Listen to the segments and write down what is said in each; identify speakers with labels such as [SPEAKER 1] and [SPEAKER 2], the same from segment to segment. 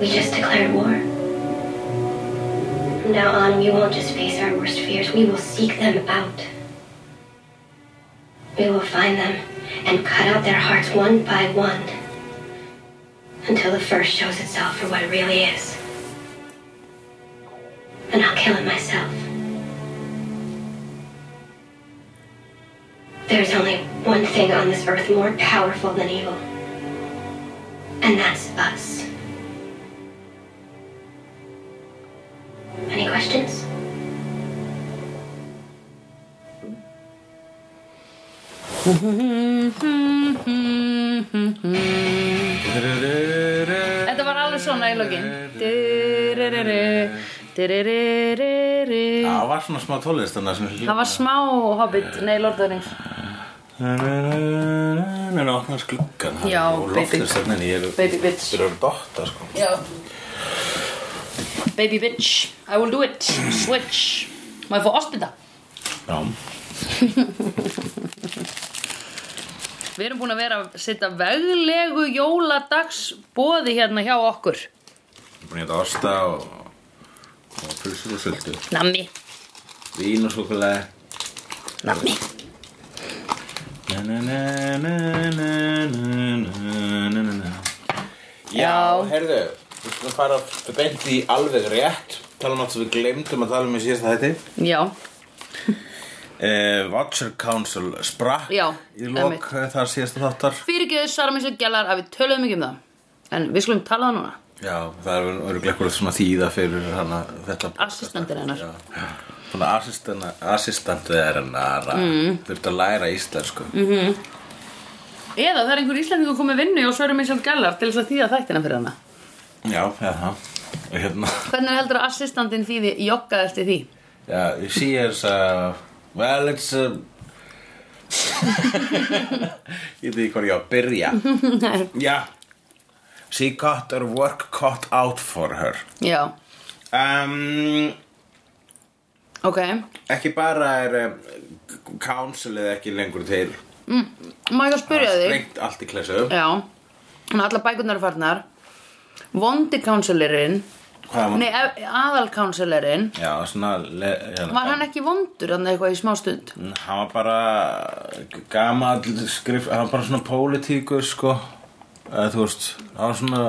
[SPEAKER 1] We just declared war. From now on, we won't just face our worst fears, we will seek them out. We will find them and cut out their hearts one by one until the first shows itself for what it really is. And I'll kill it myself. There's only one thing on this earth more powerful than evil, and that's us. Any questions?
[SPEAKER 2] Þetta var alveg svona í lokin Du-ru-ru-ru, du-ru-ru-ru.
[SPEAKER 3] Það var svona smá tólest þannig að
[SPEAKER 2] Það var smá Hobbit, nei Lord of the Rings
[SPEAKER 3] Nei, ná, opnaðist gluggan
[SPEAKER 2] Já,
[SPEAKER 3] og
[SPEAKER 2] baby.
[SPEAKER 3] loftlistarnin ég er
[SPEAKER 2] Baby bitch
[SPEAKER 3] Þeir eru að dotta sko
[SPEAKER 2] Já Baby bitch, I will do it Switch Má ég fá ospita?
[SPEAKER 3] Já,
[SPEAKER 2] Við erum búin að vera að setja veglegu jóladagsbóði hérna hjá okkur
[SPEAKER 3] búin ég að osta og og pulsur og sultu
[SPEAKER 2] Nammi,
[SPEAKER 3] Vín og svokulega
[SPEAKER 2] nammi
[SPEAKER 3] Já, herðu Við skulum fara beint í alveg rétt tala um allt sem við glemdum að tala um í síðasta þætti
[SPEAKER 2] Já,
[SPEAKER 3] uh, Watcher Council sprakk
[SPEAKER 2] Já,
[SPEAKER 3] í lok
[SPEAKER 2] einmitt.
[SPEAKER 3] eh, þar síðasta þáttar
[SPEAKER 2] fyrirgeðu Sarmis og Gjallar að við töluðum ekki um það En við skulum tala um það núna
[SPEAKER 3] Já, það eru örugglega eitthvað svona þýða fyrir hana þetta
[SPEAKER 2] Assistentinn hennar.
[SPEAKER 3] Já, já. Svona assistana, assistantið hennar mm. Þurfti að læra íslensku mm.
[SPEAKER 2] Eða það er einhver íslendingur komið vinnu og Sverri Misjál Gellar til þess að þýða þættina fyrir hana.
[SPEAKER 3] Já, eða það Og Hérna,
[SPEAKER 2] Hvernig heldur að assistantinn þýði jogga eftir því?
[SPEAKER 3] já, she is uh, Well, it's uh, Ég veit ekki hvað ég á að byrja Já She got her work cut out for her
[SPEAKER 2] Já,
[SPEAKER 3] um,
[SPEAKER 2] ok.
[SPEAKER 3] Ekki bara er um, Councilið ekki lengur til
[SPEAKER 2] Má ég að spyrja þig?
[SPEAKER 3] Sprengt allt í klessu
[SPEAKER 2] Já. Þannig allar bækurnar eru farnar. Vondi counselorinn,
[SPEAKER 3] Hvað var
[SPEAKER 2] nei aðal counselorinn,
[SPEAKER 3] Já, svona le, hérna,
[SPEAKER 2] var hann ekki vondur þannig eitthvað í smá stund?
[SPEAKER 3] Hann var bara gamall skrif Hann var bara svona pólitíkur, sko Eða, Þú veist, hann var svona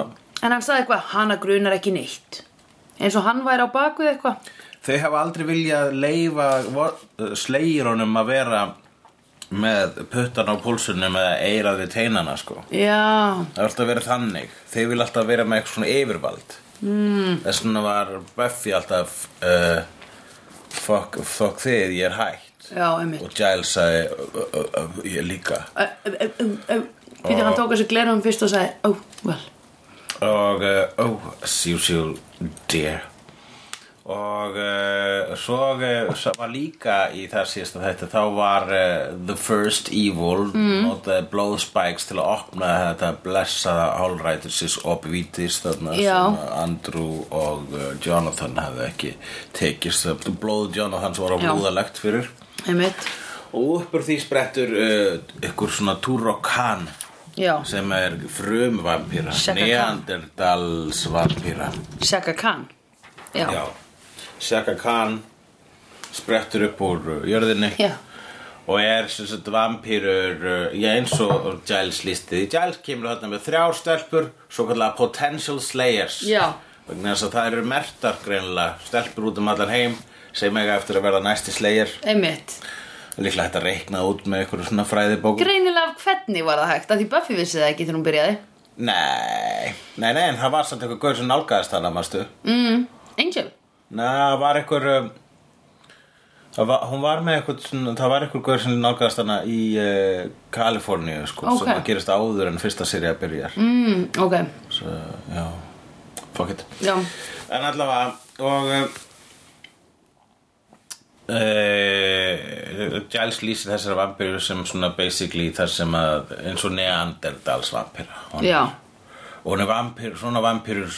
[SPEAKER 2] En hann sagði eitthvað, hana grunar ekki neitt. Eins og hann væri á bakvið eitthvað.
[SPEAKER 3] Þau hafa aldrei viljað leifa Slegir honum að vera Með puttan á púlsunum Eða eirað við teinana, sko
[SPEAKER 2] Já,
[SPEAKER 3] Það var alltaf að vera þannig Þeir vil alltaf vera með eitthvað svona yfirvald mm. Þess vegna var Buffy alltaf uh, fuck, fuck þið, ég er hætt
[SPEAKER 2] já, einmitt.
[SPEAKER 3] Og Giles sagði "Ö, ö, ö, Ég líka
[SPEAKER 2] Pítur hann tók þessu glerum fyrst og sagði, oh, well.
[SPEAKER 3] og uh, oh, as usual dear og uh, svo uh, sa- var líka í það síðasta þetta þá var uh, the first evil mm. notaði blóðspikes til að opna þetta blessaða hálrætisins opvítis þarna
[SPEAKER 2] Já.
[SPEAKER 3] sem uh, Andrew og uh, Jonathan hafði ekki tekist það blóð Jonathan sem var á
[SPEAKER 2] Já.
[SPEAKER 3] blóðalegt fyrir
[SPEAKER 2] Einmitt.
[SPEAKER 3] og uppur því sprettur uh, ykkur svona Turokhan
[SPEAKER 2] Já.
[SPEAKER 3] sem er frumvampýra
[SPEAKER 2] Shaka Khan.
[SPEAKER 3] neanderdalsvampýra
[SPEAKER 2] Shaka Khan Já, já,
[SPEAKER 3] Shaka Khan sprettur upp úr uh, jörðinni
[SPEAKER 2] já.
[SPEAKER 3] og er sem sagt vampýrur uh, já, eins og Giles lístið í Giles kemur þarna með þrjár stelpur svo kallega potential slayers
[SPEAKER 2] Já.
[SPEAKER 3] vegna þess að það eru mertar greinilega stelpur út um allan heim sem eiga eftir að verða næsti slayer
[SPEAKER 2] einmitt
[SPEAKER 3] líklega hægt að reikna út með einhverju svona fræðibókum
[SPEAKER 2] Greinilega hvernig var það hægt, að því Buffy vissi það ekki þegar hún byrjaði
[SPEAKER 3] Nei, nei, nei, en það var samt eitthvað gaur sem nálgaðist hana, mástu
[SPEAKER 2] mm. Angel
[SPEAKER 3] Nei, það var eitthvað um, það var, Hún var með eitthvað svona, Það var eitthvað gaur sem nálgaðist hana í uh, Kaliforníu, sko
[SPEAKER 2] Ok.
[SPEAKER 3] Sem að gerist áður en fyrsta serið byrjar mm.
[SPEAKER 2] mm, Ok,
[SPEAKER 3] Svo, já, fuck it
[SPEAKER 2] já,
[SPEAKER 3] En allavega, og eh, uh, Giles lýsir þessar vampirur sem svona basically þar sem að eins og neanderdals vampira
[SPEAKER 2] já
[SPEAKER 3] og hún er vampýr, svona vampýrur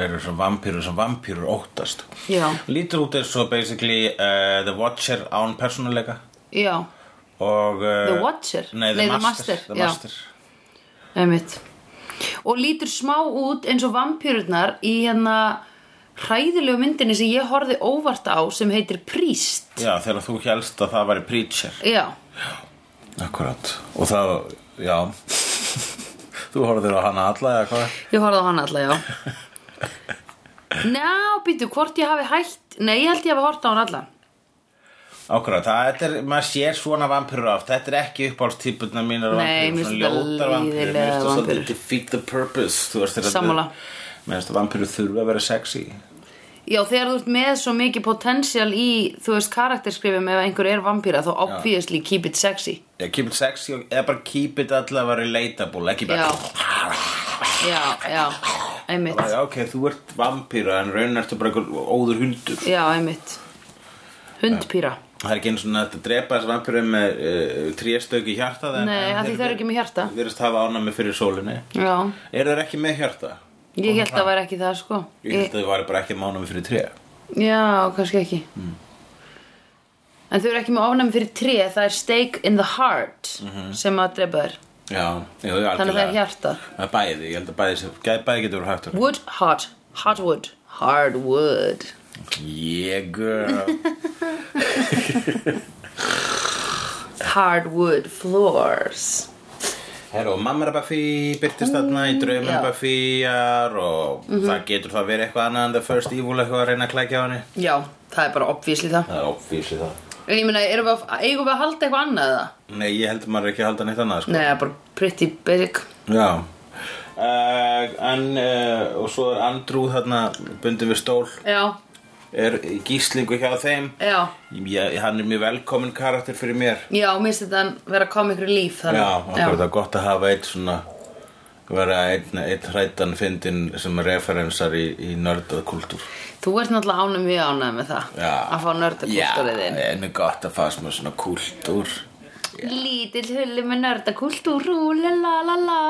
[SPEAKER 3] eru svona vampýrur sem vampýrur óttast
[SPEAKER 2] Já,
[SPEAKER 3] lítur út eins og basically uh, The Watcher án persónuleika
[SPEAKER 2] já,
[SPEAKER 3] og uh,
[SPEAKER 2] The Watcher?
[SPEAKER 3] nei,
[SPEAKER 2] Nei,
[SPEAKER 3] the,
[SPEAKER 2] The
[SPEAKER 3] master,
[SPEAKER 2] Master,
[SPEAKER 3] the
[SPEAKER 2] já.
[SPEAKER 3] master.
[SPEAKER 2] einmitt og lítur smá út eins og vampýrurnar í hérna hræðilegu myndinni sem ég horfði óvart á sem heitir Príst
[SPEAKER 3] Já, þegar þú helst að það væri preacher
[SPEAKER 2] Já,
[SPEAKER 3] Akkurat Og það, já Þú horfðir á hana alla eða hvað
[SPEAKER 2] ég horfði á hann alla, já Ná, býtu, hvort ég hafi hætt Nei, ég held ég hafi horfði á hann alla
[SPEAKER 3] Akkurat, það þetta er, maður sér svona vampirur oft Þetta er ekki uppáhaldstýpurna mínar
[SPEAKER 2] Nei,
[SPEAKER 3] vampírur,
[SPEAKER 2] mér
[SPEAKER 3] svona
[SPEAKER 2] finnst þetta
[SPEAKER 3] ljótar
[SPEAKER 2] leiðilegar
[SPEAKER 3] vampírur, Mér finnst
[SPEAKER 2] vampírur.
[SPEAKER 3] þetta defeat the purpose Þú veist þetta
[SPEAKER 2] Sammála.
[SPEAKER 3] Mér finnst að vampirur þurfa að vera sexy
[SPEAKER 2] Já, þegar þú ert með svo mikið potensial í, þú veist, karakterskrifum ef einhver er vampíra, þá obviously keep it sexy.
[SPEAKER 3] Já, keep it sexy og eða bara keep it allavega relatable Ekki bara
[SPEAKER 2] Já. Já, já, einmitt.
[SPEAKER 3] Já, ok, þú ert vampíra en raunin ertu bara einhver óður hundur
[SPEAKER 2] Já, einmitt. Hundpíra.
[SPEAKER 3] Það er ekki eins og þetta drepa þessi vampíru með uh, tríastök í hjarta
[SPEAKER 2] Nei, af því þau eru ekki með hjarta.
[SPEAKER 3] Við erum hafa ánæmi fyrir sólinni
[SPEAKER 2] Já,
[SPEAKER 3] Eru þeir ekki með hjarta?
[SPEAKER 2] ég held að væri ekki það, sko.
[SPEAKER 3] Ég held að þau væri bara ekki með ánæmi fyrir tré
[SPEAKER 2] Já, kannski ekki.
[SPEAKER 3] Mm.
[SPEAKER 2] En þau eru ekki með ofnæmi fyrir tré, það er stake in the heart
[SPEAKER 3] Mhm.
[SPEAKER 2] sem að drepa þær.
[SPEAKER 3] Já, já, já
[SPEAKER 2] Þannig að það er hjarta.
[SPEAKER 3] Það er bæði, ég held að bæði, sem- gæ- bæði getur verið hægt að-
[SPEAKER 2] Wood, hot, hot wood, hard wood.
[SPEAKER 3] Yeah, girl
[SPEAKER 2] Hardwood floors.
[SPEAKER 3] Herra, og mamma er að Buffy byrtist þarna í draumum
[SPEAKER 2] já. Mhm.
[SPEAKER 3] Buffyjar og það getur það verið eitthvað annað en The First Evil eitthvað að reyna að klækja á henni
[SPEAKER 2] Já, það er bara obvísli það.
[SPEAKER 3] Það er obvísli það
[SPEAKER 2] En ég meina, erum við að, eigum við að halda eitthvað annað eða?
[SPEAKER 3] Nei, ég held að maður er ekki að halda neitt annað sko.
[SPEAKER 2] Nei, það er bara pretty basic.
[SPEAKER 3] Já uh, En uh, og svo er Andrew þarna bundin við stól
[SPEAKER 2] Já,
[SPEAKER 3] er í gíslingu hjá þeim
[SPEAKER 2] já,
[SPEAKER 3] ég, Hann er mjög velkomin karakter fyrir mér
[SPEAKER 2] já, minnst þetta vera comic relief þannig.
[SPEAKER 3] Já, akkur það er gott að hafa eitt svona vera einn, einn hrættan fyndin sem referensar í, í nördað kultúr
[SPEAKER 2] Þú ert náttúrulega ánum við ánum með það.
[SPEAKER 3] Já.
[SPEAKER 2] Að fá nördakúltúrið þinn.
[SPEAKER 3] Já, en er gott að fara með svona kultúr
[SPEAKER 2] Lítill hulli með nördakúltúr, la la la la.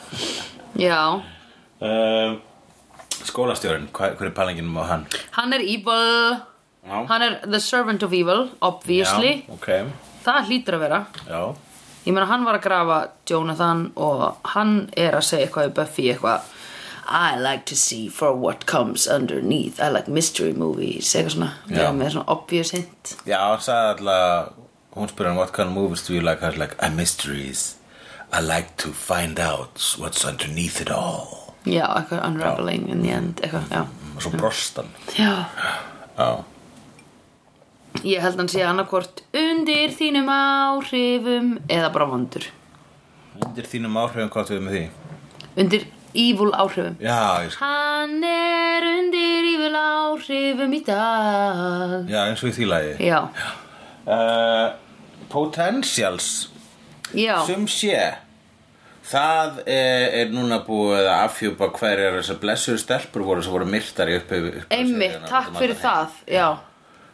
[SPEAKER 2] já,
[SPEAKER 3] uh, Skólastjórinn, hva- hver er palinginum á hann?
[SPEAKER 2] hann er evil.
[SPEAKER 3] Já.
[SPEAKER 2] Hann er the servant of evil, obviously.
[SPEAKER 3] Já, ok,
[SPEAKER 2] Það hlýtur að vera.
[SPEAKER 3] já
[SPEAKER 2] Ég meina hann var að grafa Jonathan og hann er að segja eitthvað í Buffy eitthvað I like to see for what comes underneath I like mystery movies eitthvað svona
[SPEAKER 3] Já.
[SPEAKER 2] Já. með svona obvious hint
[SPEAKER 3] Já, hann sagði alltaf Hún spyrir hann What kind of movies do you like? Hann er like, a mysteries I like to find out what's underneath it all
[SPEAKER 2] Já, eitthvað unraveling in the end eitthvað, já.
[SPEAKER 3] Og svo brost hann
[SPEAKER 2] já
[SPEAKER 3] Já,
[SPEAKER 2] Ég held hann sé annarkvort undir þínum áhrifum eða bara vondur
[SPEAKER 3] undir þínum áhrifum hvað við með því
[SPEAKER 2] Undir evil áhrifum
[SPEAKER 3] Já, ég, skil.
[SPEAKER 2] Hann er undir evil áhrifum í dag
[SPEAKER 3] já eins og í því lagi
[SPEAKER 2] Já,
[SPEAKER 3] uh, Potentials
[SPEAKER 2] já,
[SPEAKER 3] Sum sé Það er, er núna búið að afhjúpa hverjar þessar blessuðu stelpur voru sem voru myrtar í upphafi upphafi
[SPEAKER 2] Einmitt,
[SPEAKER 3] seríunnar út
[SPEAKER 2] takk
[SPEAKER 3] um
[SPEAKER 2] fyrir
[SPEAKER 3] allan heim.
[SPEAKER 2] það, já.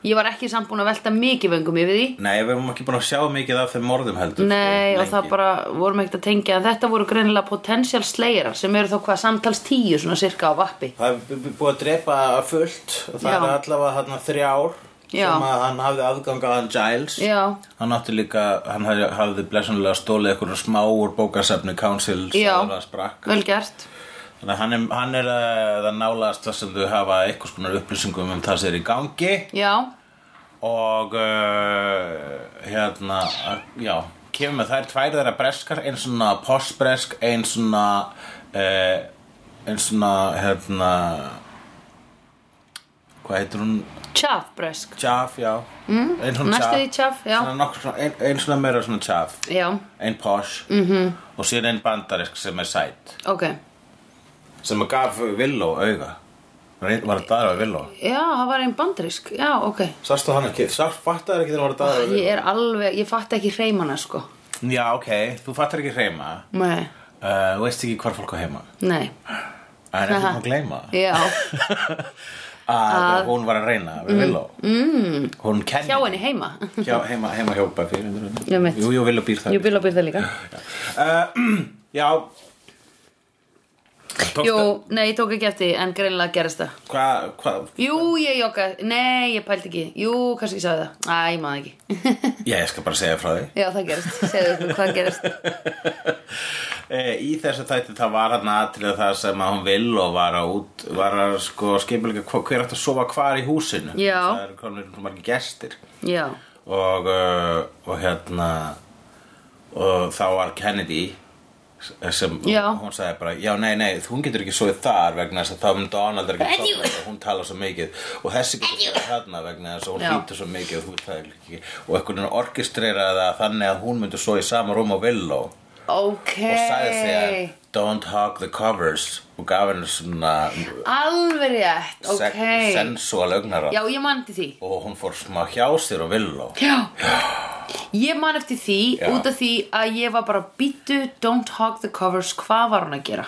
[SPEAKER 2] Ég var ekki samt búin að velta mikið vöngum yfir því.
[SPEAKER 3] Nei, við erum ekki búin að sjá mikið af þeim morðum heldur
[SPEAKER 2] Nei,
[SPEAKER 3] sko,
[SPEAKER 2] og það
[SPEAKER 3] lengi.
[SPEAKER 2] bara vorum ekkert að tengja en þetta voru greinilega potential slayerar sem eru þá hvað samtals tíu svona cirka á vappi.
[SPEAKER 3] Það er b- b- búið að drepa fullt og það
[SPEAKER 2] Já.
[SPEAKER 3] er allavega hann þrjár
[SPEAKER 2] Já.
[SPEAKER 3] sem að hann hafði aðgang að hann Giles
[SPEAKER 2] Já.
[SPEAKER 3] hann átti líka, hann hafði, hafði blessunlega stólið eitthvað smá úr bókasafni Council sem
[SPEAKER 2] Já.
[SPEAKER 3] það sprakk
[SPEAKER 2] Vel gert.
[SPEAKER 3] þannig að hann er, hann er eh, það nálaðast það sem þau hafa eitthvað skonar upplýsingum um það sem er í gangi
[SPEAKER 2] Já,
[SPEAKER 3] og uh, hérna, já kemur með þær tvær þeirra breskar einn svona postbresk, einn svona uh, einn svona hérna hvað heitir hún?
[SPEAKER 2] tjaf bresk.
[SPEAKER 3] Tjaf, já mm, einn svona
[SPEAKER 2] næstu því tjaf, já.
[SPEAKER 3] svona nokkur svona, einn ein svona meira svona tjaf
[SPEAKER 2] Já,
[SPEAKER 3] einn posh mm -hmm.
[SPEAKER 2] Mhm.
[SPEAKER 3] og síðan einn bandarisk sem er sæt
[SPEAKER 2] ok.
[SPEAKER 3] sem að gaf Villó auga var einn- var að daðra Villó
[SPEAKER 2] Já, það var einn bandrisk. Já, ok.
[SPEAKER 3] sástu hann ekki, sástu fattar ekki þegar hann var að daðra
[SPEAKER 2] Ég er alveg, ég fatt ekki hreimana sko.
[SPEAKER 3] já, ok, þú fattar ekki hreima
[SPEAKER 2] Nei,
[SPEAKER 3] Uh, veist ekki hvar fólk á heima
[SPEAKER 2] nei.
[SPEAKER 3] Það er ekki maður að gleyma
[SPEAKER 2] Já,
[SPEAKER 3] að hún var að reyna við Villó mm. Hún kenni
[SPEAKER 2] hjá henni heima.
[SPEAKER 3] hjá, heima, heima hjá Buffy
[SPEAKER 2] Ég veit.
[SPEAKER 3] Jú, jú, Villó býr það
[SPEAKER 2] Ég vil að byrja það líka.
[SPEAKER 3] Já Tókstu-
[SPEAKER 2] Jú, nei, ég tók ekki eftir því, en greinilega gerist það.
[SPEAKER 3] Hvað, hvað
[SPEAKER 2] Jú, ég joggaði, nei, ég pældi ekki Jú, kannski ég sagði það, Æ, ég maður ekki
[SPEAKER 3] Já, ég skal bara segja frá því
[SPEAKER 2] Já, það gerist, segðu ykkur hvað gerist
[SPEAKER 3] uh, eh, í þessu þætti það var hann atrið það sem að hún vil og var að út var að sko skiplega hver átt að sofa hvar í húsinu
[SPEAKER 2] Já.
[SPEAKER 3] það eru konur svo margir gestir
[SPEAKER 2] já,
[SPEAKER 3] og, uh, og hérna og þá var Kennedy sem
[SPEAKER 2] Já.
[SPEAKER 3] hún sagði bara já nei nei hún getur ekki svoið þar vegna þess að þá um Donald er ekki
[SPEAKER 2] Adieu.
[SPEAKER 3] sofnað og hún talar svo mikið og þessi getur svoið þarna vegna þess að hún
[SPEAKER 2] Já.
[SPEAKER 3] hlýtur svo mikið og, þú vilt það ekki. og einhvern veginn orkestrera það þannig að hún myndi svo í sama rúm og villó og
[SPEAKER 2] ok
[SPEAKER 3] sagði þegar don't hug the covers og gaf henni svona
[SPEAKER 2] alveg rétt, ok
[SPEAKER 3] sensual augnara
[SPEAKER 2] já, ég man eftir því
[SPEAKER 3] og hún fór smá hjá sér og villó
[SPEAKER 2] já Ég man eftir því
[SPEAKER 3] Já.
[SPEAKER 2] út af því að ég var bara býtu, don't hog the covers, hvað var hún að gera?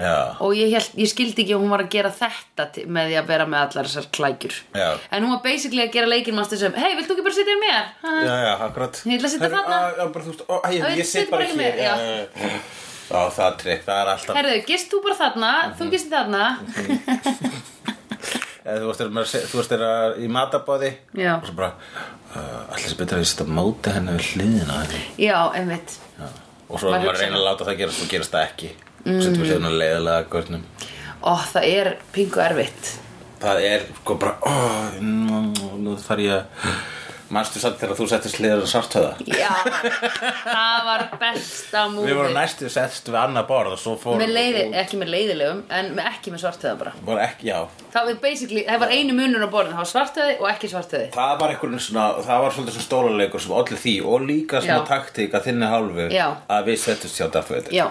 [SPEAKER 3] já
[SPEAKER 2] og ég, held, ég skildi ekki að hún var að gera þetta til- með því að vera með allar þessar klækjur
[SPEAKER 3] Já.
[SPEAKER 2] en hún var basically að gera leikinn master sem hei, viltu ekki bara sitja með mér? Ha?
[SPEAKER 3] Já, já, akkurat
[SPEAKER 2] Ég ætla að sitja
[SPEAKER 3] Herru,
[SPEAKER 2] þarna.
[SPEAKER 3] á, Já, bara þú veist, ó, æ, ég,
[SPEAKER 2] ég
[SPEAKER 3] ég
[SPEAKER 2] sit
[SPEAKER 3] sit bara
[SPEAKER 2] bara
[SPEAKER 3] hér
[SPEAKER 2] hér, já.
[SPEAKER 3] já, já, já. Já, það er trikk, það er alltaf
[SPEAKER 2] herðu, gist þú bara þarna, þú
[SPEAKER 3] Mhm.
[SPEAKER 2] gist þarna
[SPEAKER 3] Eða Þú veist, þeirra- þú veist þeirra í matabóði
[SPEAKER 2] Já.
[SPEAKER 3] Og svo bara, uh, allir sem betur að ég setja á móti henni við hliðina á henni
[SPEAKER 2] já, einmitt
[SPEAKER 3] Já. Og
[SPEAKER 2] Maður
[SPEAKER 3] svo maður
[SPEAKER 2] hugsar
[SPEAKER 3] reyna að láta það gerast og gerast það ekki mm. Settum við sérna leiðilega gurnum
[SPEAKER 2] ó, það er pingu erfitt
[SPEAKER 3] Það er sko bara, ó, nú- nú þarf ég að Manstu satt þegar þú settist hliðar að sartöða?
[SPEAKER 2] já, það var besta
[SPEAKER 3] Við vorum
[SPEAKER 2] múfi
[SPEAKER 3] næstu settst við annað borð og svo fórum
[SPEAKER 2] með leiði, ekki með leiðilegum en með ekki með svartöða bara
[SPEAKER 3] Voru ekki, já,
[SPEAKER 2] það var basically, það var einu munur á borðin það var svartöði og ekki svartöði
[SPEAKER 3] Það var einhvern svona, það var svolítið svona stóluleikur sem ollir því og líka
[SPEAKER 2] Já.
[SPEAKER 3] svona taktík að þinni hálfu
[SPEAKER 2] Já.
[SPEAKER 3] að við settust hjá Darth Vader.
[SPEAKER 2] Já,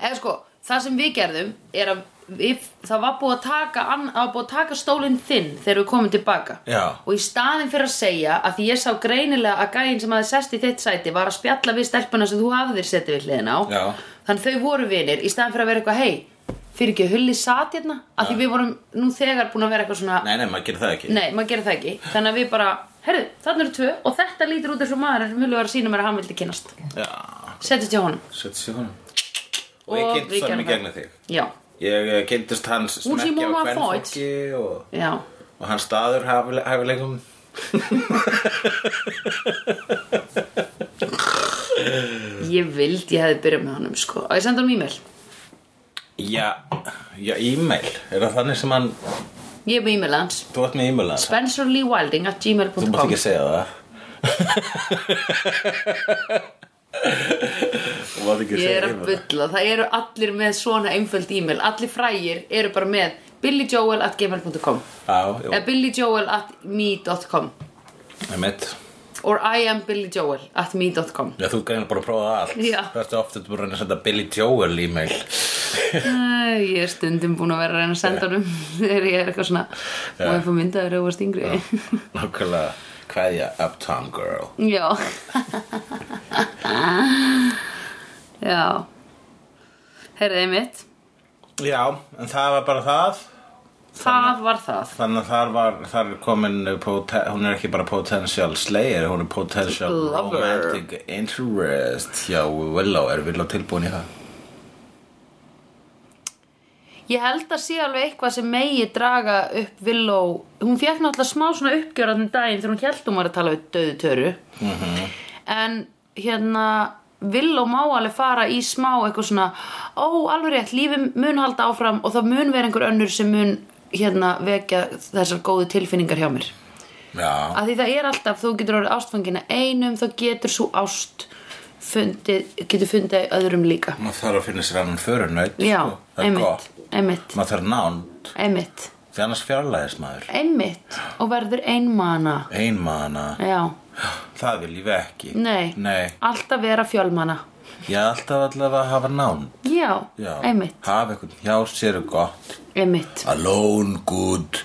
[SPEAKER 2] eða sko, það sem við gerðum er að við, það var búið að taka, ann- það var búið að taka stólinn þinn þegar við komum tilbaka
[SPEAKER 3] Já.
[SPEAKER 2] og í staðin fyrir að segja að því ég sá greinilega að gæinn sem hafði sest í þitt sæti var að spjalla við stelpuna sem þú hafðir setið við hliðin á
[SPEAKER 3] Já.
[SPEAKER 2] þannig þau voru vinir í staðin fyrir að vera eitthvað hei, fyrir ekki að hulli sat hérna að því við vorum nú þegar búin að vera eitthvað svona
[SPEAKER 3] Nei, nei, maður gerir það ekki.
[SPEAKER 2] Nei, maður gerir það ekki þannig að við bara, herðu, þannig eru tvö og þetta lítur út eins og maður sem mjög var að sína mér að hann vildi kynast
[SPEAKER 3] Já,
[SPEAKER 2] Settist hjá honum
[SPEAKER 3] settist hjá honum.
[SPEAKER 2] Og
[SPEAKER 3] Og, ég
[SPEAKER 2] við
[SPEAKER 3] kynntist
[SPEAKER 2] gerðum
[SPEAKER 3] hann í
[SPEAKER 2] það.
[SPEAKER 3] gegnum þig.
[SPEAKER 2] Já,
[SPEAKER 3] Ég eh, kynntist hans
[SPEAKER 2] Hún sem
[SPEAKER 3] smekkja
[SPEAKER 2] hún
[SPEAKER 3] á
[SPEAKER 2] var fót.
[SPEAKER 3] kvennfólki og,
[SPEAKER 2] já
[SPEAKER 3] og hans staður hæfilegum. hæfilegum.
[SPEAKER 2] Ég vildi ég hefði byrjað með honum sko Og ég sendi honum e-mail
[SPEAKER 3] Já, já, e-mail. Er það þannig sem hann,
[SPEAKER 2] Ég er með e-mail hans
[SPEAKER 3] þú ert með e-mail hans?
[SPEAKER 2] spencerleewilding at
[SPEAKER 3] Þú mátt
[SPEAKER 2] gmail.com
[SPEAKER 3] ekki segja það. Þú mátt
[SPEAKER 2] Ég
[SPEAKER 3] ekki segja
[SPEAKER 2] er að
[SPEAKER 3] e-mail.
[SPEAKER 2] bulla Það eru allir með svona einföld e-mail Allir frægir eru bara með billyjoel at gmail.com
[SPEAKER 3] Já, jú,
[SPEAKER 2] Eða billyjoel at me.com
[SPEAKER 3] einmitt.
[SPEAKER 2] Or I am billyjoel at me.com
[SPEAKER 3] Já, þú ert greinlega bara að prófa allt.
[SPEAKER 2] Já.
[SPEAKER 3] Þú ert ofta búin að reyna að senda Billy Joel e-mail.
[SPEAKER 2] Æ, Ég er stundum búin að vera að reyna að senda honum Þegar ég er eitthvað svona Má ég fá myndaður eða varst yngri
[SPEAKER 3] Nákvæmlega, kveðja Uptown Girl.
[SPEAKER 2] Já Já Herðið mitt
[SPEAKER 3] Já, en það var bara það.
[SPEAKER 2] Það var það
[SPEAKER 3] Þannig að þar var, þar er komin, uh, pote- hún er ekki bara potential slayer, hún er potential
[SPEAKER 2] Lover.
[SPEAKER 3] romantic interest. Já, Willow, er Willow tilbúin í það?
[SPEAKER 2] Ég held að sé alveg eitthvað sem megi draga upp Villó Hún fekk náttúrulega smá svona uppgjörðan daginn þegar hún held hún var að tala við döðu töru En hérna Villó má alveg fara í smá eitthvað svona Ó, alveg rétt, lífi mun halda áfram og það mun vera einhver önnur sem mun hérna vekja þessar góðu tilfinningar hjá mér
[SPEAKER 3] Já.
[SPEAKER 2] að því það er alltaf, þú getur orðið ástfangina einum, þá getur svo ást fundið, getur fundið öðrum líka.
[SPEAKER 3] Maður þarf að finna sér annan förunnaut.
[SPEAKER 2] Já,
[SPEAKER 3] Sko, það er
[SPEAKER 2] einmitt,
[SPEAKER 3] gott.
[SPEAKER 2] einmitt,
[SPEAKER 3] Maður þarf nánd,
[SPEAKER 2] einmitt,
[SPEAKER 3] því annars fjarlæðis maður.
[SPEAKER 2] einmitt og verður einmana.
[SPEAKER 3] Einmana,
[SPEAKER 2] Já,
[SPEAKER 3] það viljum við ekki.
[SPEAKER 2] nei,
[SPEAKER 3] Nei.
[SPEAKER 2] alltaf vera fjölmana.
[SPEAKER 3] Ég er alltaf allavega að hafa nán
[SPEAKER 2] Já,
[SPEAKER 3] Já.
[SPEAKER 2] einmitt,
[SPEAKER 3] Hafa einhvern hjá sér er gott
[SPEAKER 2] einmitt,
[SPEAKER 3] Alone good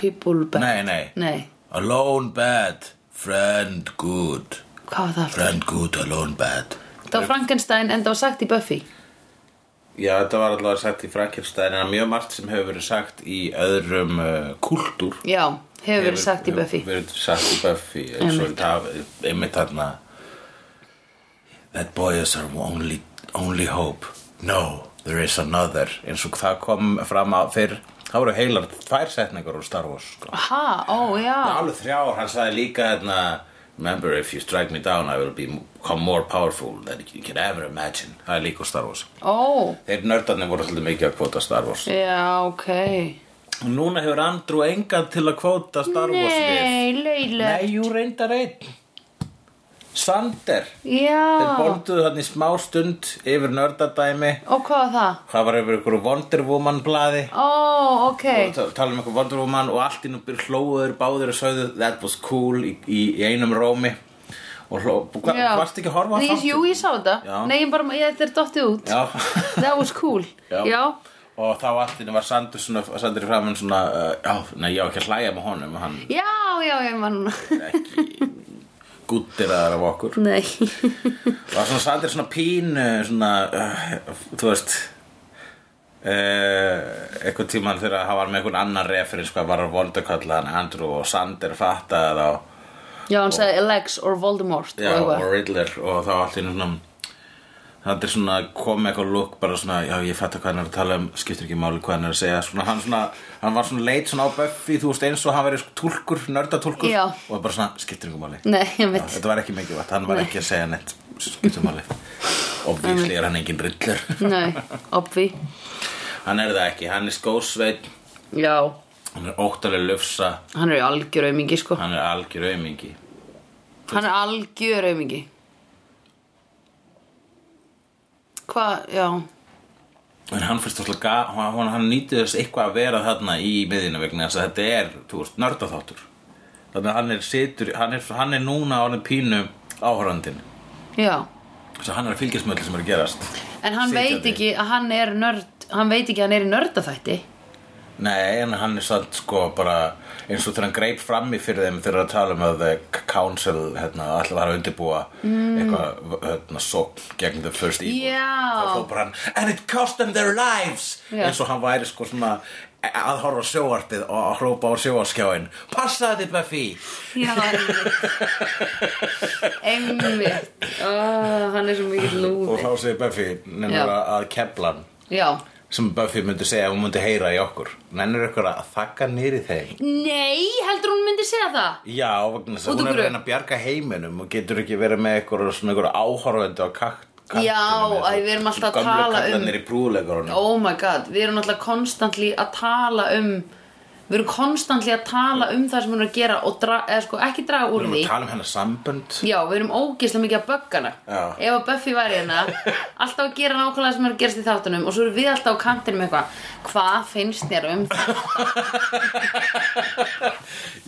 [SPEAKER 2] people bad.
[SPEAKER 3] Nei, nei.
[SPEAKER 2] Nei,
[SPEAKER 3] Alone bad Friend good
[SPEAKER 2] hvað var það aftur?
[SPEAKER 3] Friend good, alone bad
[SPEAKER 2] Það var Frankenstein en það var sagt í Buffy.
[SPEAKER 3] Já, þetta var allavega sagt í Frankenstein en mjög margt sem hefur verið sagt í öðrum uh, kultúr
[SPEAKER 2] Já, hefur verið sagt í Buffy.
[SPEAKER 3] Hefur verið sagt í Buffy eins og það- einmitt þarna That boy is our only, only hope No, there is another eins og það kom fram að fyrr það voru heilar
[SPEAKER 2] Ah.
[SPEAKER 3] tvær setningar úr Star Wars sko.
[SPEAKER 2] Ha, ó, já,
[SPEAKER 3] alveg þrjár, hann sagði líka þarna Remember if you strike me down I will be- become more powerful than you can ever imagine Það er líka úr Star Wars
[SPEAKER 2] Ó,
[SPEAKER 3] Þeir nördarnir voru svolítið mikið að kvota Star Wars
[SPEAKER 2] já, ok
[SPEAKER 3] Og núna hefur Andrew engan til að kvota Star Wars við
[SPEAKER 2] Nei, leiðilegt
[SPEAKER 3] Nei, jú reyndar einn Sander Þeir
[SPEAKER 2] Já,
[SPEAKER 3] bólduðu þarna í smá stund yfir nördadæmi
[SPEAKER 2] og hvað var það?
[SPEAKER 3] Það var yfir ykkur Wonder Woman blaði
[SPEAKER 2] Ó, ok
[SPEAKER 3] og ta- tala um eitthvað Wonder Woman og allt innum byrð hlóður báður og sögðu that was cool í, í, í einum rómi og hló, hva,
[SPEAKER 2] Já.
[SPEAKER 3] varst ekki að horfa á
[SPEAKER 2] Nei,
[SPEAKER 3] þáttinn?
[SPEAKER 2] Jú, ég sá þetta
[SPEAKER 3] Já.
[SPEAKER 2] Nei, ég bara, ég, þetta er dottið út
[SPEAKER 3] Já.
[SPEAKER 2] That was cool
[SPEAKER 3] Já. og þá allt innum var Sandur svona, Sandur í framann svona uh, já, nei, ég á ekki að hlæja með honum hann
[SPEAKER 2] já, já, ég man núna
[SPEAKER 3] er ekki gúttiraðar af okkur
[SPEAKER 2] Nei
[SPEAKER 3] var svona Sandur svona pínu svona, uh, þú veist Uh, eitthvað tíman þegar hann var með einhvern annan referens hvað var að vondakalla hann Andrew og Sander fattaði þá
[SPEAKER 2] Já, hann sagði Alex or Voldemort og
[SPEAKER 3] Já,
[SPEAKER 2] eitthvað.
[SPEAKER 3] og Riddler og þá allt í einu svona Það er svona kom með eitthvað lúk bara svona, já ég fætta hvað hann er að tala um skiptir ekki máli hvað hann er að segja svona, hann, svona, hann var svona leit svona á Buffy þú veist eins og hann verið túlkur, nördatúlkur
[SPEAKER 2] Já.
[SPEAKER 3] og bara svona skiptir ekki máli
[SPEAKER 2] Nei, ég
[SPEAKER 3] Já,
[SPEAKER 2] veit
[SPEAKER 3] Þetta var ekki mikið vatn, hann var
[SPEAKER 2] Nei.
[SPEAKER 3] ekki að segja neitt skiptir máli og vísli er hann engin Riddler
[SPEAKER 2] Nei, obvi
[SPEAKER 3] Hann er það ekki, hann er skósveit
[SPEAKER 2] Já,
[SPEAKER 3] hann er óttalega lufsa
[SPEAKER 2] hann er í algjör aumingi sko
[SPEAKER 3] hann er algjör aumingi
[SPEAKER 2] Hann er algjör aumingi Hvað, já
[SPEAKER 3] En hann fyrst alltaf gaf, hann, hann nýtið þess eitthvað að vera þarna í miðinu vegna þess að þetta er, þú veist, nördaþáttur. Þannig að hann er situr, hann er, hann er núna á hann pínu áhorandin.
[SPEAKER 2] Já,
[SPEAKER 3] Þess að hann er að fylgjast með öllu sem er að gerast.
[SPEAKER 2] en hann
[SPEAKER 3] Sitjandi.
[SPEAKER 2] veit ekki að hann er nörd Hann veit ekki að hann er í nördaþætti
[SPEAKER 3] Nei, en hann er samt sko bara eins og þegar hann greip frammi fyrir þeim þegar að tala um að the council hérna, alltaf var að undirbúa eitthvað hérna, sókn gegn the first evil
[SPEAKER 2] Mm. Já.
[SPEAKER 3] þá fór bara hann and it cost them their lives
[SPEAKER 2] Já.
[SPEAKER 3] eins og hann væri sko svona að horfa á sjóvarpið og að hrópa á sjóvarskjáin passaði þið Buffy
[SPEAKER 2] Já, einmitt Einmitt Ó, Hann er svo mikið
[SPEAKER 3] og
[SPEAKER 2] lúði
[SPEAKER 3] þá segir Buffy
[SPEAKER 2] Já.
[SPEAKER 3] nefnir að, að kepla hann
[SPEAKER 2] Já
[SPEAKER 3] sem Buffy myndi segja ef hún myndi heyra í okkur nennir ykkur að þakka nýri þeim
[SPEAKER 2] Nei, heldur hún myndi segja það?
[SPEAKER 3] Já, vegna
[SPEAKER 2] Út
[SPEAKER 3] þess að
[SPEAKER 2] úr
[SPEAKER 3] hún er að
[SPEAKER 2] gröf.
[SPEAKER 3] reyna að bjarga heiminum og getur ekki verið með eitthvað svona eitthvað áhorfandi á kakt
[SPEAKER 2] Já, æ, við erum alltaf að tala um-
[SPEAKER 3] Gömlu kallanir í brúðleikarunum
[SPEAKER 2] Oh my god, við erum náttúrulega konstantli að tala um Við erum konstantli að tala um það sem hún er að gera og dra, eða sko ekki draga
[SPEAKER 3] Við
[SPEAKER 2] úr
[SPEAKER 3] erum
[SPEAKER 2] því
[SPEAKER 3] að tala um hennar sambönd
[SPEAKER 2] Já, við erum ógeðslega mikið að böggana
[SPEAKER 3] Já.
[SPEAKER 2] Ef að Buffy væri hérna Alltaf að gera nákvæmlega sem er að gerast í þáttunum Og svo erum við alltaf á kantinum eitthvað Hvað finnst þér um það?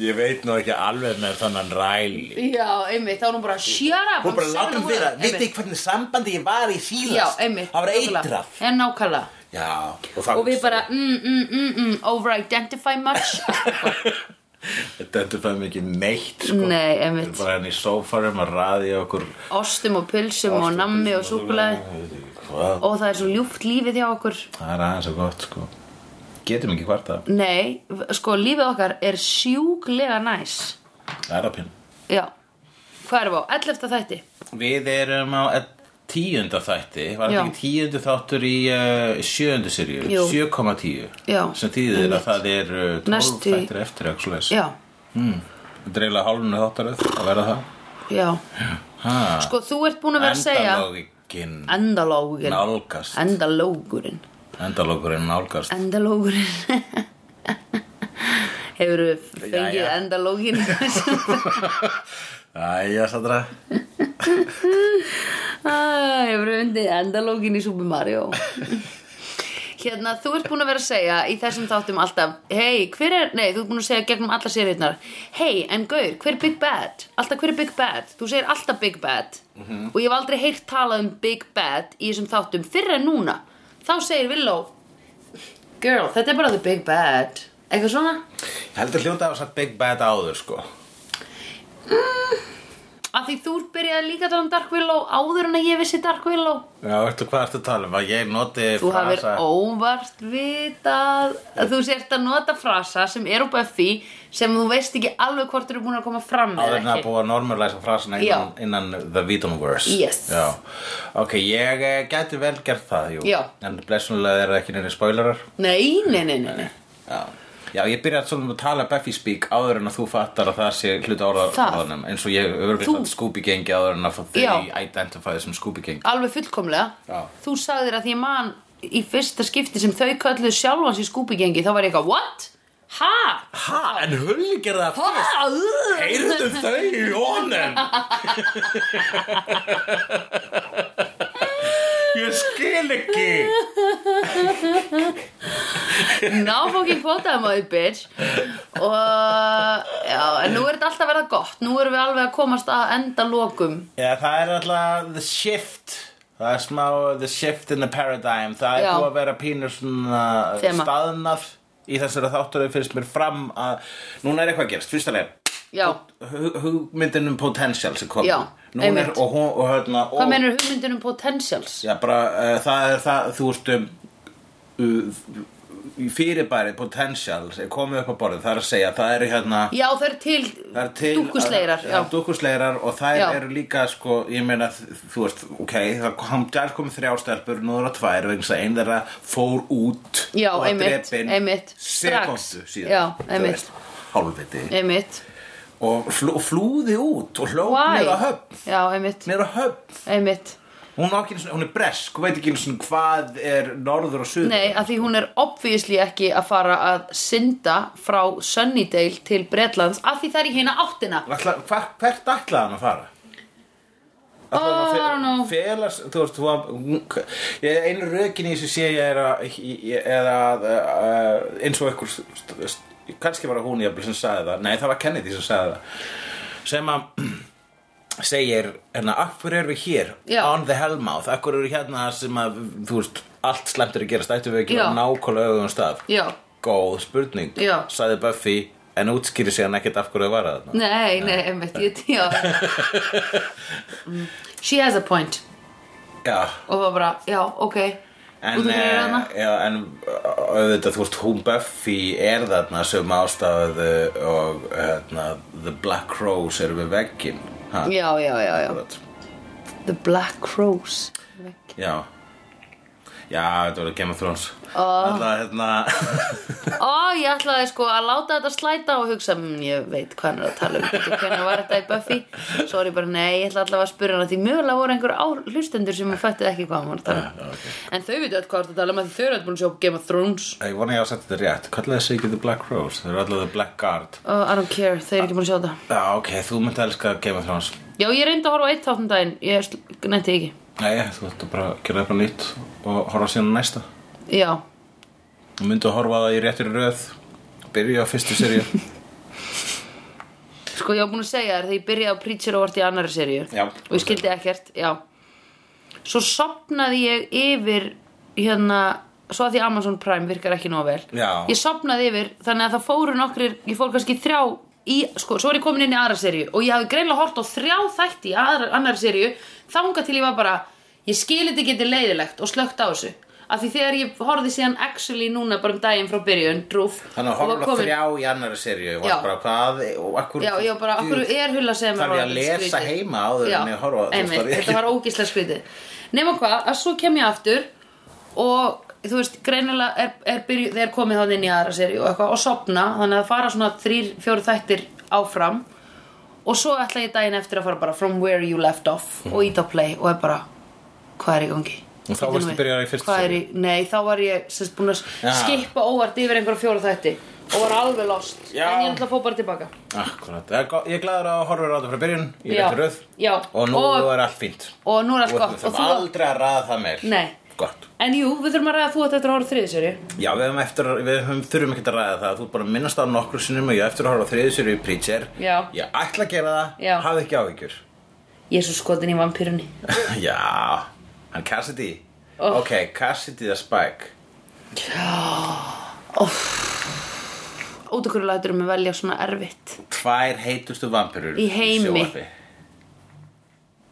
[SPEAKER 3] Ég veit nú ekki alveg með þannan ræli
[SPEAKER 2] Já, einmitt, þá er hún bara Shut up,
[SPEAKER 3] Hún bara látum
[SPEAKER 2] honum."
[SPEAKER 3] þeirra,
[SPEAKER 2] Einmitt.
[SPEAKER 3] vitið þið hvernig sambandi ég var í
[SPEAKER 2] Já,
[SPEAKER 3] síðast
[SPEAKER 2] einmitt
[SPEAKER 3] Það var
[SPEAKER 2] nákvæmlega.
[SPEAKER 3] eitrað
[SPEAKER 2] Já, nákvæmlega
[SPEAKER 3] Já, og,
[SPEAKER 2] Og við bara, mm, mm, mm, mm, over-identify much
[SPEAKER 3] Þetta er það mikið neitt sko.
[SPEAKER 2] Nei,
[SPEAKER 3] Við erum
[SPEAKER 2] einmitt
[SPEAKER 3] bara henni í sófarum að raði okkur
[SPEAKER 2] Ostum og pulsum og nammi og súkulega
[SPEAKER 3] Hvað?
[SPEAKER 2] og það er svo ljúft lífið hjá okkur
[SPEAKER 3] Það er aðeins og gott sko Getum ekki hvarta
[SPEAKER 2] nei, sko lífið okkar er sjúklega næs
[SPEAKER 3] Það er að pinna
[SPEAKER 2] já, hvað erum við á? 11. þætti
[SPEAKER 3] Við erum á ell- tíunda þætti, var þetta
[SPEAKER 2] Já.
[SPEAKER 3] ekki tíundu þáttur í uh, sjöundu sirju,
[SPEAKER 2] Jú.
[SPEAKER 3] 7,10
[SPEAKER 2] Já,
[SPEAKER 3] sem þýðir að
[SPEAKER 2] einmitt.
[SPEAKER 3] það er uh, 12
[SPEAKER 2] Næstu-
[SPEAKER 3] þættir eftir eitthvað Hmm.
[SPEAKER 2] já,
[SPEAKER 3] dreila hálfunu þáttaröð að vera það
[SPEAKER 2] já,
[SPEAKER 3] ha,
[SPEAKER 2] sko þú ert búin að vera að segja
[SPEAKER 3] Endalógin
[SPEAKER 2] endalógurinn
[SPEAKER 3] nálgast
[SPEAKER 2] endalógurinn
[SPEAKER 3] Endalógurinn nálgast
[SPEAKER 2] endalógurinn hefur við fengið
[SPEAKER 3] Jæja.
[SPEAKER 2] endalóginn
[SPEAKER 3] Æja, Sandra
[SPEAKER 2] Ah, Ég verið undið endalógin í Super Mario Hérna, þú ert búin að vera að segja í þessum þáttum alltaf Hei, hver er, nei, þú ert búin að segja gegnum alla sérhyrnar Hei, en gaur, hver er Big Bad? Alltaf hver er Big Bad? Þú segir alltaf Big Bad Og ég hef aldrei heyrt talað um Big Bad í þessum þáttum fyrr en núna Þá segir Villó Girl, þetta er bara the Big Bad Eitthvað svona?
[SPEAKER 3] Heldur hljóta á þess að Big Bad áður sko
[SPEAKER 2] Af því þú byrjaði líka að tala um Dark Willow áður en að ég vissi Dark Willow
[SPEAKER 3] Já, veistu hvað ertu að tala um? Að ég noti
[SPEAKER 2] Þú hafir
[SPEAKER 3] frasa
[SPEAKER 2] óvart vitað að þú sért að nota frasa sem er á Buffy sem þú veist ekki alveg hvort þú eru búin að koma fram
[SPEAKER 3] áður
[SPEAKER 2] eða
[SPEAKER 3] en að
[SPEAKER 2] ekki.
[SPEAKER 3] búa að normalæsa frasina innan,
[SPEAKER 2] Já.
[SPEAKER 3] innan the Vidomverse
[SPEAKER 2] Yes.
[SPEAKER 3] Já. ok, ég eh, gæti vel gert það jú.
[SPEAKER 2] Já.
[SPEAKER 3] en blessunlega er það ekki neina spoilerar
[SPEAKER 2] Nei, nei, nei, nei, nei.
[SPEAKER 3] Já. Já, ég byrjaði svolítið að tala Buffy speak áður en að þú fattar að það sé hluta
[SPEAKER 2] Það.
[SPEAKER 3] orðanum eins og ég
[SPEAKER 2] Þú-
[SPEAKER 3] öfurlega Scooby gengi áður en að þau
[SPEAKER 2] Já.
[SPEAKER 3] identify sem Scooby gengi
[SPEAKER 2] alveg fullkomlega
[SPEAKER 3] Já.
[SPEAKER 2] þú sagðir að því man í fyrsta skipti sem þau kölluðu sjálfans í skúpigengi þá var ég eitthvað, what? Ha?
[SPEAKER 3] Ha, en hulli gerða það
[SPEAKER 2] Ha? Ugh."
[SPEAKER 3] Heyrðu þau í honum Ég skil ekki
[SPEAKER 2] Ná fókin kvótaði maður bitch og já, en nú er þetta alltaf að verða gott nú erum við alveg að komast að enda lokum
[SPEAKER 3] Já, það er alltaf the shift Það er smá the shift in the paradigm Það er
[SPEAKER 2] Já.
[SPEAKER 3] búið að vera pínur svona
[SPEAKER 2] Þema.
[SPEAKER 3] staðnað í þessari þáttur finnst mér fram að núna er eitthvað að gerast, fyrsta leið
[SPEAKER 2] já,
[SPEAKER 3] Hug- hugmyndin um potential sem kom
[SPEAKER 2] Já,
[SPEAKER 3] Núna er,
[SPEAKER 2] einmitt.
[SPEAKER 3] og, hún, og, hérna, og,
[SPEAKER 2] hvað meinur hugmyndin um potentials?
[SPEAKER 3] Já, bara, uh, það er það, þú veist um, uh, fyrirbæri potential er komið upp á borðið, það er að segja það eru hérna
[SPEAKER 2] já, það er til,
[SPEAKER 3] Það er til
[SPEAKER 2] dúkkusleirar já,
[SPEAKER 3] að- dúkkusleirar og þær
[SPEAKER 2] Já.
[SPEAKER 3] eru líka sko, ég meina, þú veist, ok það kom, þær komið þrjár stelpur, nú eru það tvær vegna þess að einn þeirra fór út
[SPEAKER 2] Já,
[SPEAKER 3] og var
[SPEAKER 2] einmitt,
[SPEAKER 3] drepin
[SPEAKER 2] einmitt, strax.
[SPEAKER 3] sekundu síðan
[SPEAKER 2] Já,
[SPEAKER 3] þú
[SPEAKER 2] einmitt.
[SPEAKER 3] veist, hálfviti
[SPEAKER 2] einmitt
[SPEAKER 3] og flú, flúði út og hló
[SPEAKER 2] why?
[SPEAKER 3] niður á höfn
[SPEAKER 2] já, einmitt,
[SPEAKER 3] niður á höfn
[SPEAKER 2] einmitt
[SPEAKER 3] hún, á ekki einu sinni- hún er bresk, hún veit ekki einu sinni hvað er norður og suður
[SPEAKER 2] Nei, að því hún er obvísli ekki að fara að synda frá Sunnydale til Bretlands að því það er í hérna áttina
[SPEAKER 3] Ætla, hver, hvert ætlaði hann að fara? Ætlaði
[SPEAKER 2] Oh,
[SPEAKER 3] hann að fe-
[SPEAKER 2] I don't know.
[SPEAKER 3] Felast, þú veist, þú var hún- ég- Einu rökin í þessu sé ég er að, ég er að uh, eins og ykkur st- st- kannski var það hún jafnvel sem sagði það Nei, það var Kennedy sem sagði það sem að segir, hérna, af hverju erum við hér
[SPEAKER 2] Já.
[SPEAKER 3] on the hellmouth, af hverju erum við hérna þar sem að, þú veist, allt slæmt er að gerast ættum við ekki
[SPEAKER 2] Já.
[SPEAKER 3] á nákvæmlega öðum stað
[SPEAKER 2] Já,
[SPEAKER 3] Góð spurning,
[SPEAKER 2] Já.
[SPEAKER 3] sagði Buffy en útskýri sig hann ekkert af hverju það var þarna
[SPEAKER 2] nei, nei, einmitt, ég tíða She has a point
[SPEAKER 3] Já,
[SPEAKER 2] og var bara, já, ok
[SPEAKER 3] En,
[SPEAKER 2] Út af fyrir hana
[SPEAKER 3] eh, já, en auðvitað, þú veist, hún Buffy er þarna sem ástafðu og hérna, The Black Rose er við veggin ha,
[SPEAKER 2] Já, já, já, já
[SPEAKER 3] akkurat.
[SPEAKER 2] The Black Rose
[SPEAKER 3] já Já, þetta voru Game of Thrones Alla, hérna,
[SPEAKER 2] Ó, ég ætlaði sko að láta þetta slæta og hugsa, mmm, ég veit hvað hann er að tala um Bíddu, hvernig var þetta í Buffy Svo er ég bara, nei, ég ætla allavega að spyrja hana því mögulega voru einhver á, hlustendur sem hún fættið ekki hvað hann var að tala um En þau veitu öll hvað það tala um að þau eru öll búin að sjá Game of Thrones
[SPEAKER 3] ég vona ég á að setja þetta rétt Kallaði þessi ekki The Black Rose, þeir eru allavega The Black Guard
[SPEAKER 2] oh, I don't care, þau eru ekki búin að sjá þetta
[SPEAKER 3] Já, ok, þú myndi elska Game of Thrones
[SPEAKER 2] Já, ég reyndi að horfa á eitt þáttum daginn, ég sl- nennti ekki
[SPEAKER 3] Nei, þú ætti bara að gera eitthvað nýtt og horfa síðan á næsta
[SPEAKER 2] Já,
[SPEAKER 3] Þú myndi að horfa á það í réttir röð Byrja á fyrstu seríu
[SPEAKER 2] sko ég var búin að segja þér þegar ég byrjaði á Preacher og vart í annari seríu
[SPEAKER 3] Já.
[SPEAKER 2] Og ég skildi ekkert, já Svo sopnaði ég yfir, hérna, svo að því Amazon Prime virkar ekki nóg vel
[SPEAKER 3] Já.
[SPEAKER 2] Ég sopnaði yfir, þannig að það fóru nokkrir, ég fór kannski þrjá í, sko, svo er ég komin inn í aðra seríu Og ég hafði greinlega hort á þrjá þætti í aðra, annari seríu Þanga til ég var bara, ég skil þetta geti leiðilegt og slökkt á þessu Af því þegar ég horfði síðan actually núna bara um daginn frá byrjun, drúf
[SPEAKER 3] Þannig að
[SPEAKER 2] og var
[SPEAKER 3] horfa
[SPEAKER 2] komin-
[SPEAKER 3] þrjá í annari serju og
[SPEAKER 2] Já.
[SPEAKER 3] bara hvað e- og akkur,
[SPEAKER 2] Já, já, bara, akkur er hulla sem
[SPEAKER 3] Þarf ég að lesa heima áður en ég horfa á það, þú veist,
[SPEAKER 2] einmitt,
[SPEAKER 3] það er ekki-
[SPEAKER 2] Þetta var ógíslega skrítið Nefna hvað, að svo kem ég aftur og þú veist, greinilega er, er byrju, þeir komið þá inn í aðra seri og eitthvað og sopna, þannig að það fara svona þrýr, fjóru þættir áfram og svo ætla ég daginn eftir að fara bara from where you left off og ít á play og er bara, hvað er í gangi?
[SPEAKER 3] Mhm. Og þá
[SPEAKER 2] Bíddu nú
[SPEAKER 3] varstu
[SPEAKER 2] við,
[SPEAKER 3] byrjaður í fyrstu
[SPEAKER 2] hvað er
[SPEAKER 3] seríu?
[SPEAKER 2] í- Nei, þá var ég sérst búin að
[SPEAKER 3] Já.
[SPEAKER 2] skipa óvart yfir einhverja fjóra þætti og var alveg lost
[SPEAKER 3] Já.
[SPEAKER 2] en ég ætla að fá bara tilbaka
[SPEAKER 3] Akkurat, Það er gott- ég er glæður að horfa á þetta frá byrjun í
[SPEAKER 2] Já.
[SPEAKER 3] réttir röð
[SPEAKER 2] Já.
[SPEAKER 3] og nú
[SPEAKER 2] Og-
[SPEAKER 3] er allt fínt
[SPEAKER 2] og nú er allt
[SPEAKER 3] og
[SPEAKER 2] gott
[SPEAKER 3] við
[SPEAKER 2] og
[SPEAKER 3] þurfum
[SPEAKER 2] þú
[SPEAKER 3] aldrei að ræða það meir
[SPEAKER 2] Nei.
[SPEAKER 3] Gott
[SPEAKER 2] En jú, við þurfum að ræða að þú átt eftir að horfa þriðið séri
[SPEAKER 3] Já, við, höfum eftir, við höfum, þurfum ekkert að ræða það Þú ert bara að minnast á nokkru sinnum og ég á eftir að horfa á þriðið sér í Preacher
[SPEAKER 2] Já.
[SPEAKER 3] Ég ætla að gera það,
[SPEAKER 2] Já.
[SPEAKER 3] hafði ekki áhyggjur
[SPEAKER 2] Ég er svo skotin í vampýrunni
[SPEAKER 3] Já, hann Cassidy
[SPEAKER 2] Oh.
[SPEAKER 3] Ok, Cassidy the Spike
[SPEAKER 2] Út okkur lætur um að velja svona erfitt
[SPEAKER 3] Tvær heitustu vampirur
[SPEAKER 2] Í heimi.
[SPEAKER 3] sjónvarpi.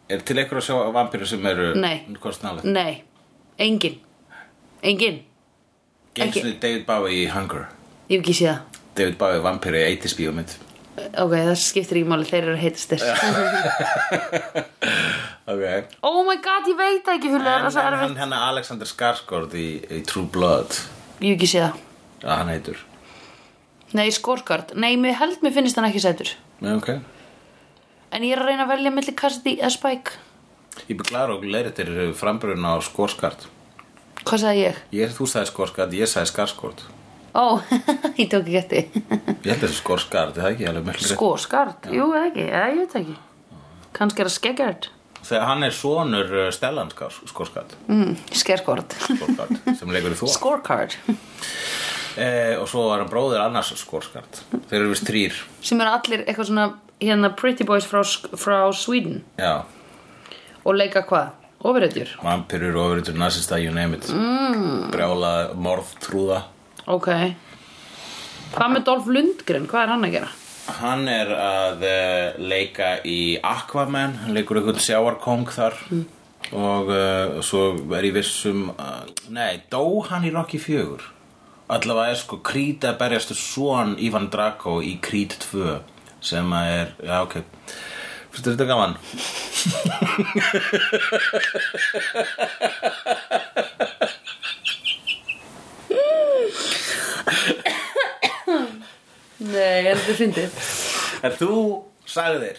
[SPEAKER 3] Er til einhverja sjá vampirur sem eru
[SPEAKER 2] Nei.
[SPEAKER 3] kostnálega?
[SPEAKER 2] Nei, engin Engin, ekki.
[SPEAKER 3] Geinsinu David Bowie í Hunger
[SPEAKER 2] ég hef ekki séð það
[SPEAKER 3] David Bowie vampiri í 80s bíómynd
[SPEAKER 2] Ok, það skiptir ekki máli, þeir eru að heitast þess
[SPEAKER 3] Ok
[SPEAKER 2] Oh my god, ég veit það ekki hulur, það er
[SPEAKER 3] En
[SPEAKER 2] svo
[SPEAKER 3] en
[SPEAKER 2] erfitt
[SPEAKER 3] hann hann Alexander Skarsgård í, í True Blood
[SPEAKER 2] Ég hef ekki séð það
[SPEAKER 3] að hann heitur
[SPEAKER 2] Nei, skorkart. Nei, mér held mér finnist hann ekki sætur.
[SPEAKER 3] Já, ok
[SPEAKER 2] En ég er að reyna að velja milli Cassidy eða Spike.
[SPEAKER 3] Ég beglar og leir þetta eru frambrun á skórskart
[SPEAKER 2] Hvað sagði ég?
[SPEAKER 3] Ég, þú sagði skórskart, ég sagði skarskort
[SPEAKER 2] Ó, ég tók ekki eftir.
[SPEAKER 3] Ég held þessi skórskart, það er ekki alveg mjög
[SPEAKER 2] Sko- Skórskart? Jú, eða ekki. Eða, ég veit það ekki. Kannski er það skeggjart.
[SPEAKER 3] Þegar hann er sonur uh, Stellan skórskart
[SPEAKER 2] Mm, skerkort.
[SPEAKER 3] Skórskart, sem leikur í þú
[SPEAKER 2] Scorecard.
[SPEAKER 3] eh, Og svo er hann bróðir annars skórskart Þeir eru vist þrýr
[SPEAKER 2] Sem eru allir eitthvað svona hérna pretty boys frá, Sk- frá Sweden.
[SPEAKER 3] Já,
[SPEAKER 2] Og leika hvað? Ofurhetjur.
[SPEAKER 3] vampirur, ofuritur, nazista, you name it mm. Brjála, morð, trúða
[SPEAKER 2] Ok. Hvað með Dolph Lundgren? Hvað er hann að gera?
[SPEAKER 3] Hann er að eh, leika í Aquaman, hann leikur einhvern sjáarkong þar og uh, svo er ég viss um, uh, nei, dó hann í Rocky 4? Allavega er sko Creed að berjastu son Ivan Draco í Creed 2 sem að er, já ok, fyrstu þetta gaman?
[SPEAKER 2] Nei, ég heldur fyndið.
[SPEAKER 3] En þú sagðir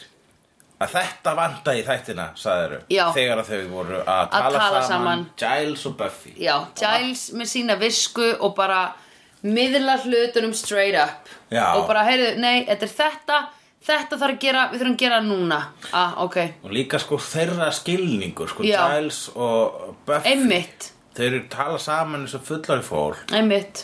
[SPEAKER 3] að þetta vanda í þættina, sagðir
[SPEAKER 2] Já.
[SPEAKER 3] þegar að þau voru að tala,
[SPEAKER 2] tala
[SPEAKER 3] saman,
[SPEAKER 2] saman.
[SPEAKER 3] Giles og Buffy
[SPEAKER 2] Já, Giles með sína visku og bara miðla hlutunum straight up
[SPEAKER 3] Já.
[SPEAKER 2] og bara, heyrðu, nei, þetta er þetta þetta þarf að gera, við þurfum að gera núna ah, ok,
[SPEAKER 3] og líka sko þeirra skilningur sko
[SPEAKER 2] Já.
[SPEAKER 3] Giles og Buffy
[SPEAKER 2] einmitt
[SPEAKER 3] þeir eru tala saman eins og fullari fólk
[SPEAKER 2] einmitt,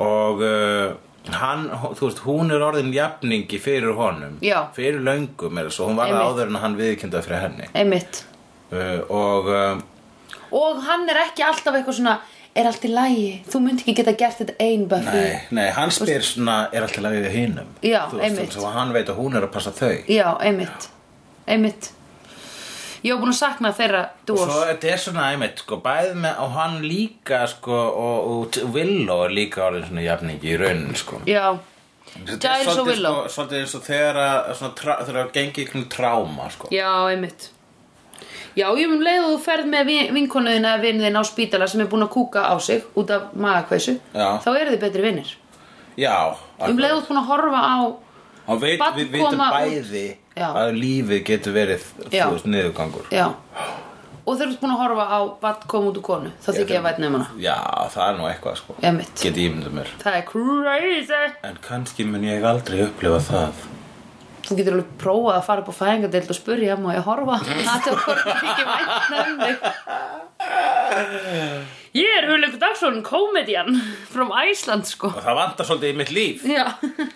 [SPEAKER 3] og uh, hann, þú veist, hún er orðin jafningi fyrir honum
[SPEAKER 2] Já.
[SPEAKER 3] fyrir löngum er þess og hún var
[SPEAKER 2] Einmitt.
[SPEAKER 3] áður en hann viðkynda fyrir henni
[SPEAKER 2] einmitt
[SPEAKER 3] uh, og uh,
[SPEAKER 2] og hann er ekki alltaf eitthvað svona er allt í lagi, þú myndi ekki geta gert þetta ein Buffy
[SPEAKER 3] nei, nei, hann spyr svona er alltaf lagið við hinum
[SPEAKER 2] Já,
[SPEAKER 3] þú
[SPEAKER 2] einmitt.
[SPEAKER 3] og hann veit að hún er að passa þau
[SPEAKER 2] já, einmitt einmitt ég var búin að sakna þeirra
[SPEAKER 3] Og
[SPEAKER 2] dúos
[SPEAKER 3] svo þetta er svona einmitt sko, bæði með, og hann líka sko, og, og t- Willow er líka orðin svona jafningi í raunin sko.
[SPEAKER 2] já,
[SPEAKER 3] Þetta
[SPEAKER 2] Giles og
[SPEAKER 3] er svolítið,
[SPEAKER 2] Willow.
[SPEAKER 3] sko, Svolítið eins og þegar að svona trá- þegar að gengi ykkur tráma sko.
[SPEAKER 2] já, einmitt Já, ég mun leið og þú ferð með vin- vinkonu þín eða vinnu þín á spítala sem er búin að kúka á sig út af magakveisu
[SPEAKER 3] Já.
[SPEAKER 2] þá eru þið betri vinnir
[SPEAKER 3] Já,
[SPEAKER 2] um leið og þú búin að horfa á
[SPEAKER 3] og veit,
[SPEAKER 2] barn
[SPEAKER 3] við vitum
[SPEAKER 2] koma út-
[SPEAKER 3] bæði
[SPEAKER 2] Já.
[SPEAKER 3] að lífið getur verið
[SPEAKER 2] Já.
[SPEAKER 3] þú veist, niðurgangur
[SPEAKER 2] já, og þeir eru búin að horfa á vatn kom út úr konu, þá þykir ég að vætna um hana
[SPEAKER 3] Já, það er nú eitthvað sko.
[SPEAKER 2] Já, mitt.
[SPEAKER 3] Get ímyndum mér
[SPEAKER 2] það er crazy
[SPEAKER 3] En kannski mun ég aldrei upplifa það
[SPEAKER 2] þú getur alveg prófað að fara upp á fæðingadeild og spurja, má ég horfa það er hvort þið ekki vætna um þig ég er Hulegu Dagsson, komedian from Iceland sko
[SPEAKER 3] Og það vantar svolítið í mitt líf
[SPEAKER 2] já,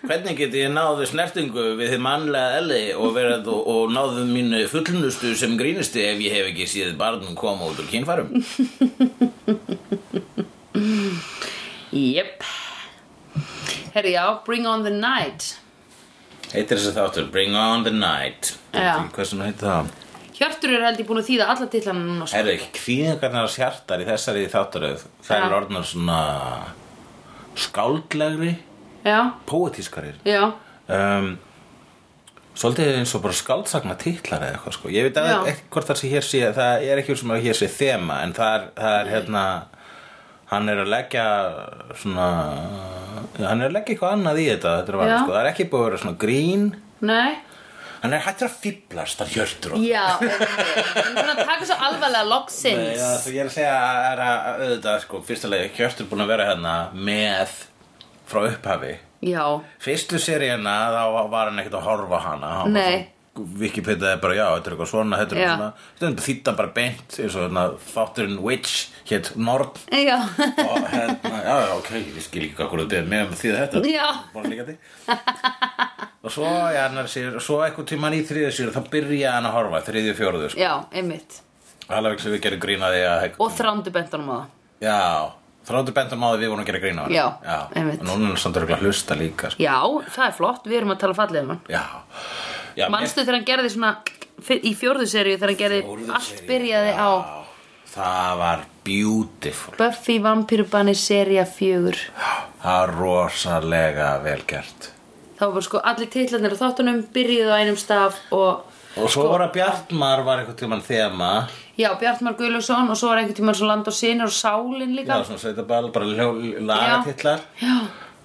[SPEAKER 3] Hvernig get ég náði snertingu við þið mannlega elli og, verið, og, og náði mínu fullnustu sem grínustu ef ég hef ekki síðið barnum koma út úr kynfærum?
[SPEAKER 2] jep herri já, bring on the night
[SPEAKER 3] Heitir þessi þáttur Bring on the night
[SPEAKER 2] Já.
[SPEAKER 3] Hversu nú heitir það?
[SPEAKER 2] Hjörtur er held ég búin að þýða alla titlana núna sko.
[SPEAKER 3] Herðu, kvíðingarnar hjartar í þessari þáttaröð Það
[SPEAKER 2] Já.
[SPEAKER 3] eru orðnar svona skáldlegri,
[SPEAKER 2] já,
[SPEAKER 3] póetískarir
[SPEAKER 2] já,
[SPEAKER 3] um, Svolítið eins og bara skáldsagna titlar eða eitthvað sko Ég veit að
[SPEAKER 2] Já.
[SPEAKER 3] ekki hvort það sé hér sé, það er ekki sem að hér sé þema En það er, það er hérna, hann er að leggja svona Hann er að leggja eitthvað annað í þetta, þetta er varlega,
[SPEAKER 2] Já.
[SPEAKER 3] sko. Það er ekki búið að vera svona grín
[SPEAKER 2] nei
[SPEAKER 3] Hann er hættur að fýblast að hjörtur og
[SPEAKER 2] Já, ok. Hún er búin að taka svo alvarlega
[SPEAKER 3] Nei,
[SPEAKER 2] loksins
[SPEAKER 3] Já, þú- ég er að segja að er að að auðvitað sko, fyrsta leið, Hjörtur er búin að vera hérna með frá upphafi
[SPEAKER 2] Já,
[SPEAKER 3] Fyrstu seríuna þá var hann ekkert að horfa á hana hann var
[SPEAKER 2] Nei.
[SPEAKER 3] svo- Wikipedia er bara, já, þetta er eitthvað svona, þetta er
[SPEAKER 2] Já.
[SPEAKER 3] eitthvað svona Þetta þýttan bara beint, eins og hérna, þátturinn Witch, hétt Nord
[SPEAKER 2] já,
[SPEAKER 3] og hérna, já, já, ok, ég skil ekki hvað þetta er með að þýða þetta
[SPEAKER 2] Já.
[SPEAKER 3] Bara líka því Og svo, já, hann er sér, svo eitthvað tíman í þriðið sér, þá byrja hann að horfa, þriðið fjóruðu, sko
[SPEAKER 2] já, einmitt
[SPEAKER 3] Alveg sem við gerum grínaði að
[SPEAKER 2] Og þrándu bentanum á það
[SPEAKER 3] Já, þráttur bentum á því við vorum að gera grína
[SPEAKER 2] Já,
[SPEAKER 3] Já.
[SPEAKER 2] einmitt.
[SPEAKER 3] Og núna er samt örugglega að hlusta líka sko.
[SPEAKER 2] Já, það er flott, við erum að tala fallega um hann
[SPEAKER 3] Já, já
[SPEAKER 2] Manstu þegar hann gerði svona fyr- í fjórðu seríu þegar hann gerði
[SPEAKER 3] Fjórðu
[SPEAKER 2] allt
[SPEAKER 3] seríu,
[SPEAKER 2] byrjaði á
[SPEAKER 3] mér- Það var beautiful
[SPEAKER 2] Buffy Vampirubanni sería fjögur
[SPEAKER 3] Það var rosalega vel gert
[SPEAKER 2] Það var bara sko allir titlarnir á þáttunum byrjuðu á einum staf og sko-
[SPEAKER 3] Og svo var að Bjartmar var einhvern tímann þema
[SPEAKER 2] já, Bjartmar Guðlaugsson og svo var einhvern tímann svo land og sinur og sálin
[SPEAKER 3] Já,
[SPEAKER 2] líka
[SPEAKER 3] svona sveitaball, bara ljó- lagatillar
[SPEAKER 2] já.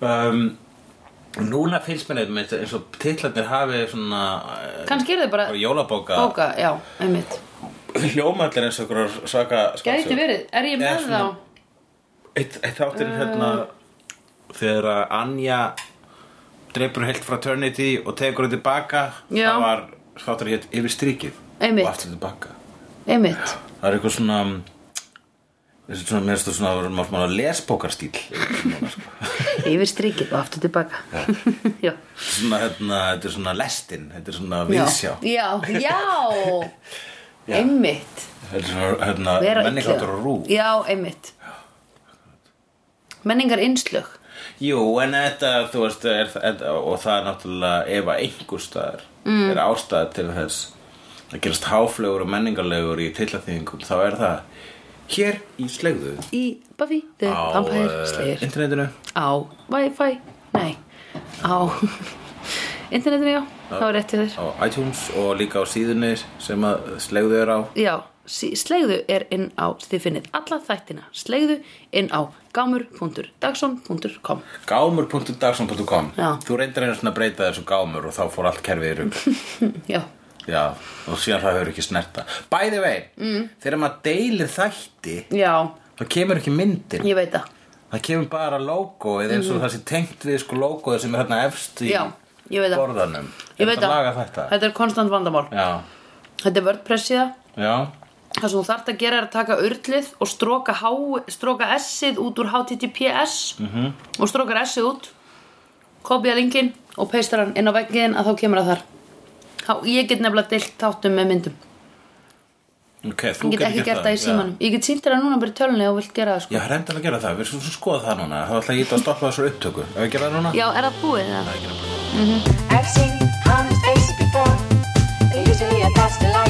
[SPEAKER 3] um, Núna finnst mér einmitt eins og titlarnir hafi svona eh,
[SPEAKER 2] Kannski eru þau bara
[SPEAKER 3] bara jólabóka
[SPEAKER 2] bóka, já, einmitt
[SPEAKER 3] Hljómallir eins og einhverjar svaka
[SPEAKER 2] Gæti
[SPEAKER 3] skáldsögur.
[SPEAKER 2] verið, er ég
[SPEAKER 3] Eða
[SPEAKER 2] með
[SPEAKER 3] svona-
[SPEAKER 2] þá?
[SPEAKER 3] Eitt, eitt þáttir hérna
[SPEAKER 2] Uh.
[SPEAKER 3] þegar að Anja dreipur heilt fraternity og tekur þetta tilbaka
[SPEAKER 2] Já.
[SPEAKER 3] það var þáttir hétt yfir strikið
[SPEAKER 2] Einmitt.
[SPEAKER 3] og aftur tilbaka
[SPEAKER 2] Einmitt
[SPEAKER 3] það er eitthvað svona þessi svona mér stu svona að vera maður svona lesbókarstíl núna, sko.
[SPEAKER 2] Yfir strikið og aftur tilbaka Já,
[SPEAKER 3] svona hérna þetta er svona lestin þetta er svona
[SPEAKER 2] já,
[SPEAKER 3] viðsjá
[SPEAKER 2] já, já. Einmitt
[SPEAKER 3] þetta er svona hérna
[SPEAKER 2] Vera
[SPEAKER 3] menningatur
[SPEAKER 2] illu.
[SPEAKER 3] og rú
[SPEAKER 2] Já, einmitt Menningar innslög
[SPEAKER 3] Jú, en þetta, þú veist, er, er, og það er náttúrulega ef að einhver staðar er ástæða til þess að gerast háflegur og menningarlegur í tillaþýðingum, þá er það hér í slegðu
[SPEAKER 2] Í Buffy the
[SPEAKER 3] á
[SPEAKER 2] Vampire
[SPEAKER 3] eh,
[SPEAKER 2] Slayer
[SPEAKER 3] internetinu.
[SPEAKER 2] Á Wi-Fi, nei Á Internetinu, já, þá er rétt í þér
[SPEAKER 3] Á iTunes og líka á síðunni sem að slegðu er á.
[SPEAKER 2] Já, sí- slegðu er inn á, þið finnið alla þættina, slegðu inn á gámur.dagson.com
[SPEAKER 3] Gámur.dagson.com
[SPEAKER 2] Já.
[SPEAKER 3] Þú reyndir einu svona að breyta þessu gámur og þá fór allt kerfið í rugl.
[SPEAKER 2] Já,
[SPEAKER 3] Já, og síðan það hefur ekki snerta. Bæði vei, mm. þegar maður deilir þætti,
[SPEAKER 2] já,
[SPEAKER 3] þá kemur ekki myndin.
[SPEAKER 2] ég veit það,
[SPEAKER 3] Það kemur bara logoið eins og það sé tengt við sko logoið sem er hérna efst í
[SPEAKER 2] Mhm. já, ég veit það
[SPEAKER 3] borðanum.
[SPEAKER 2] Ég veit
[SPEAKER 3] Þetta laga
[SPEAKER 2] það,
[SPEAKER 3] þetta.
[SPEAKER 2] þetta er konstant vandamál
[SPEAKER 3] Já,
[SPEAKER 2] Þetta er WordPress síða
[SPEAKER 3] já,
[SPEAKER 2] Það sem þú þarft að gera er að taka urlið og stróka, H, stróka S-ið út úr HTTPS -hmm. og strókar S-ið út kopja linkin og peistar hann inn á veggiðin að þá kemur það þar Há, Ég get nefnilega deilt þáttum með myndum
[SPEAKER 3] ok, þú
[SPEAKER 2] Ég get ekki gert það í
[SPEAKER 3] já.
[SPEAKER 2] símanum Ég get sýnt þér það núna bara í tölunni og vilt gera það sko
[SPEAKER 3] Já, reyndan að gera það, við erum svo skoða það núna, þá ætla ég ít að stoppa þessu upptöku. Ef við gera það núna?
[SPEAKER 2] Já, er það búið það?
[SPEAKER 4] I've seen honest faces before. They're usually a past life.